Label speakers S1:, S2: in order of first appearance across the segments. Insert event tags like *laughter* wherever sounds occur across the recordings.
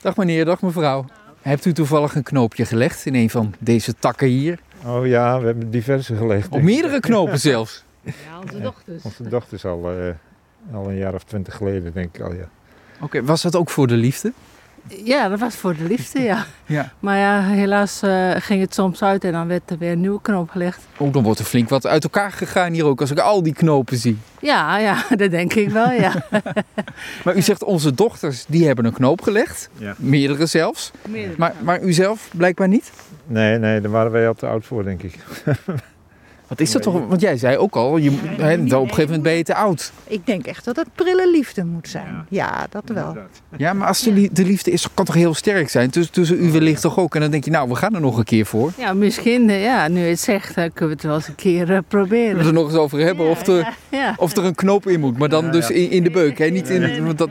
S1: Dag meneer, dag mevrouw. Hebt u toevallig een knoopje gelegd in een van deze takken hier?
S2: Oh ja, we hebben diverse gelegd.
S1: Op meerdere knopen zelfs.
S3: Ja, onze dochters.
S2: Onze dochter is al, eh, al een jaar of twintig geleden, denk ik al, ja.
S1: *laughs* Oké, was dat ook voor de liefde?
S3: Ja, dat was voor de liefde, ja.
S1: Ja.
S3: Maar ja, helaas eh, ging het soms uit en dan werd er weer een nieuwe knoop gelegd.
S1: Oh, dan wordt er flink wat uit elkaar gegaan hier ook als ik al die knopen zie.
S3: Ja, ja, *laughs* dat denk ik wel, *laughs* ja.
S1: Maar u zegt onze dochters, die hebben een knoop gelegd.
S2: Ja.
S1: Meerdere zelfs. Maar, maar u zelf blijkbaar niet?
S2: Nee, nee, daar waren wij al te oud voor, denk ik.
S1: Wat is dat toch? Want jij zei ook al, je, hè, op een gegeven moment ben je te oud.
S4: Ik denk echt dat het prille liefde moet zijn. Ja, dat wel.
S1: Ja, maar als de, lie- de liefde is, kan toch heel sterk zijn? Tussen, tussen u wellicht toch ook? En dan denk je, nou, we gaan er nog een keer voor.
S3: Ja, misschien, eh, ja, nu je het zegt, eh, kunnen we het wel eens een keer eh,
S1: We het *laughs*
S3: proberen.
S1: er nog eens over hebben of, er,
S3: Ja,
S1: of er een knoop in moet. Maar dan
S2: Ja,
S1: dus
S2: ja.
S1: in, in de beuk, hè? Niet in, want dat,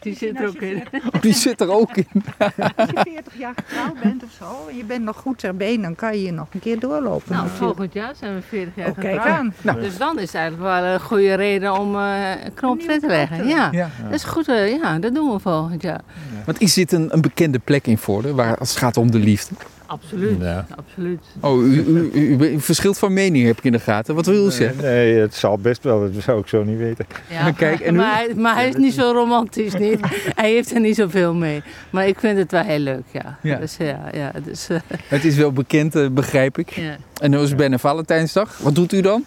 S3: die zit er ook in.
S1: die zit er ook in.
S4: Als je 40 jaar getrouwd bent of zo, en je bent nog goed ter been, dan kan je nog een keer doorlopen.
S3: Nou,
S4: natuurlijk.
S3: volgend jaar zijn we 40 jaar
S4: Oh, kijk
S3: getrouwd.
S4: aan.
S3: Dus dan is het eigenlijk wel een goede reden om eh, een knoop erin te leggen. Ja,
S1: Ja.
S3: dat is goed. eh, ja, dat doen we volgend jaar.
S1: Want is dit een, een bekende plek in Voorde, waar, als het gaat om de liefde?
S3: Absoluut,
S1: Hm.
S2: Ja.
S3: absoluut.
S1: Oh, u, u, u- u verschilt van mening heb ik in de gaten. Wat wil u zeggen?
S2: Nee, het zal best wel, dat zou ik zo niet weten.
S3: Ja,
S1: Kijk, en nu-
S3: maar, hij, maar hij is niet zo romantisch,
S1: *laughs*
S3: niet? Hij heeft er niet zoveel mee. Maar ik vind het wel heel leuk, ja.
S1: Ja.
S3: Dus ja, ja, dus, eh,
S1: Het is wel bekend, eh, begrijp ik.
S3: *laughs* ja.
S1: En dan is het bijna Valentijnsdag. Wat doet u dan?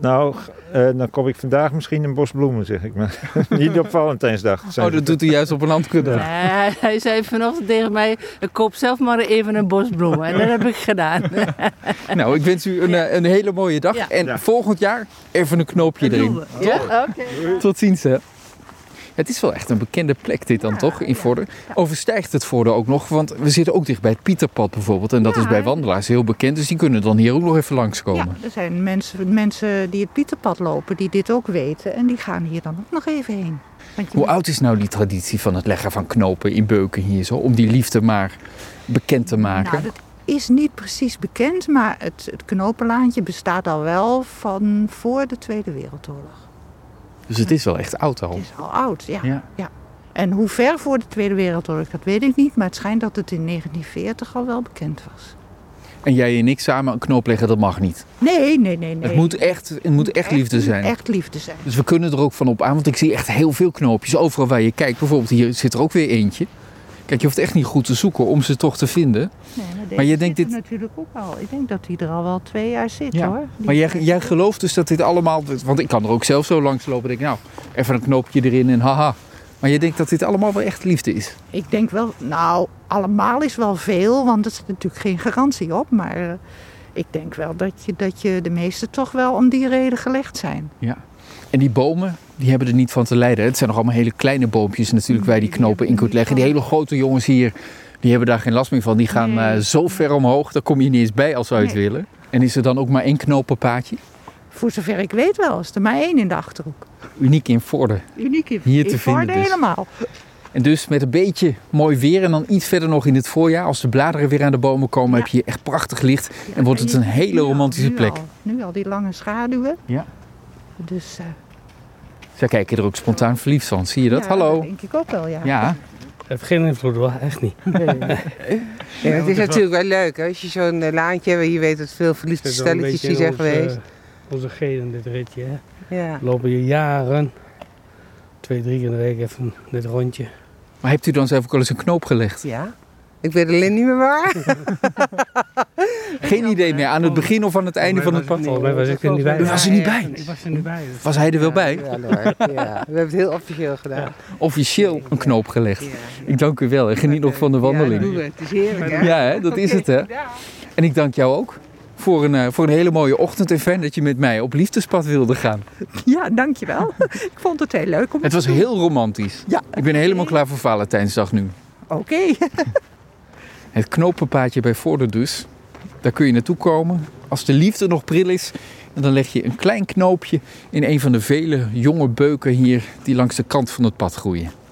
S2: Nou, g- eh, dan kom ik vandaag misschien een bos bloemen, zeg ik maar. *laughs* niet op Valentijnsdag.
S1: Oh, dat doet u juist op een andere dag.
S3: Nee, hij, hij zei vanochtend tegen mij, koop zelf maar even een bos bloemen. En dat heb ik
S1: *laughs*
S3: gedaan.
S1: Nou, ik wens u een, eh, een hele mooie dag.
S3: Ja.
S1: En
S2: Ja.
S1: volgend jaar even een knoopje erin.
S3: Bloemen, Ja? Oké.
S1: Tot ziens, hè. Het is wel echt een bekende plek dit dan, toch, in Vorden? Overstijgt het Vorden ook nog? Want we zitten ook dicht bij het Pieterpad bijvoorbeeld. En dat
S4: Ja,
S1: is bij
S4: hè?
S1: wandelaars heel bekend. Dus die kunnen dan hier ook nog even
S4: Ja,
S1: langskomen.
S4: er zijn mensen, mensen die het Pieterpad lopen, die dit ook weten. En die gaan hier dan ook nog even heen. Want je
S1: Hoe oud is nou die traditie van het leggen van knopen in beuken hier zo? Om die liefde maar bekend te maken.
S4: Nou, dat is niet precies bekend, maar het, het knopenlaantje bestaat al wel van voor de Tweede Wereldoorlog.
S1: Dus het is wel echt oud al.
S4: Het is al oud, ja.
S1: Oh. Ja.
S4: En hoe ver voor de Tweede Wereldoorlog, dat weet ik niet. Maar het schijnt dat het in 1940 al wel bekend was.
S1: En jij en ik samen een knoop leggen, dat mag niet.
S4: Nee, nee, nee, nee.
S1: Het, moet echt, het moet echt liefde zijn.
S4: Echt liefde zijn.
S1: Dus we kunnen er ook van op aan, want ik zie echt heel veel knoopjes. Overal waar je kijkt, bijvoorbeeld hier zit er ook weer eentje. Kijk, je hoeft echt niet goed te zoeken om ze toch te vinden.
S4: Nee, maar,
S1: Maar
S4: deze
S1: je denkt
S4: zit er natuurlijk ook al. Ik denk dat hij er al wel twee jaar zit
S1: Ja,
S4: hoor. Die-
S1: Maar jij, jij gelooft dus dat dit allemaal... Want ik kan er ook zelf zo langs lopen en denk nou, even een knoopje erin en haha. Maar je denkt dat dit allemaal wel echt liefde is.
S4: Ik denk wel, nou, allemaal is wel veel, want er zit natuurlijk geen garantie op. Maar eh, ik denk wel dat je, dat je de meeste toch wel om die reden gelegd zijn.
S1: Ja. En die bomen, die hebben er niet van te lijden. hè? Het zijn nog allemaal hele kleine boompjes natuurlijk waar je die knopen in kunt leggen. Die hele grote jongens hier, die hebben daar geen last meer van. Die gaan eh, zo ver omhoog, daar kom je niet eens bij als we het
S4: Nee.
S1: willen. En is er dan ook maar één knoop per paadje?
S4: Voor zover ik weet wel, is er maar één in de Achterhoek.
S1: Uniek in Vorden.
S4: Uniek in
S1: Hier te
S4: in
S1: vinden
S4: Vorden
S1: dus.
S4: helemaal.
S1: En dus met een beetje mooi weer en dan iets verder nog in het voorjaar... als de bladeren weer aan de bomen komen, heb je hier echt prachtig licht. En wordt het een hele
S4: Nu al,
S1: romantische
S4: nu
S1: plek.
S4: al, nu al die lange schaduwen.
S1: Ja.
S4: Dus, eh,
S1: Zij kijken er ook spontaan verliefd van, zie je dat?
S4: ja,
S1: Hallo.
S4: denk ik ook wel, ja.
S1: Ja,
S5: heeft geen invloed, hoor. echt niet.
S6: Ja, het is natuurlijk wel leuk hè, als je zo'n eh, laantje hebt. Je weet dat veel verliefde
S5: Het is wel een
S6: stelletjes
S5: beetje
S6: hier
S5: in
S6: zijn
S5: onze-
S6: geweest.
S5: Onze geden dit ritje. Hè.
S6: Ja.
S5: We lopen hier jaren, twee, drie keer in de week even dit rondje.
S1: maar hebt u dan zelf ook al eens een knoop gelegd?
S6: ja. Ik weet alleen niet meer waar.
S1: Geen
S6: eh,
S1: idee meer, aan het begin of aan het einde van het pad?
S5: Volgens mij was ik er niet bij.
S1: U was er niet bij?
S5: Ik was er niet bij. dus-
S1: Was hij er wel bij?
S6: Ja, hoor. ja. We hebben het heel officieel gedaan.
S1: Officieel een knoop gelegd.
S6: Ja.
S1: Ik dank u wel en geniet nog van de
S6: Ja,
S1: wandeling.
S6: doe het. Het is heerlijk hè.
S1: Ja, hè, dat is het hè. En ik dank jou ook voor een, eh, voor een hele mooie ochtend en fijn dat je met mij op liefdespad wilde gaan.
S4: *laughs* Ja, dankjewel. *laughs* ik vond het heel leuk om
S1: Het was heel romantisch.
S4: Ja.
S1: Ik ben helemaal klaar voor Valentijnsdag nu.
S4: Oké.
S1: Het knopenpaadje bij Voorde dus. Daar kun je naartoe komen. Als de liefde nog pril is, en dan leg je een klein knoopje in een van de vele jonge beuken hier die langs de kant van het pad groeien.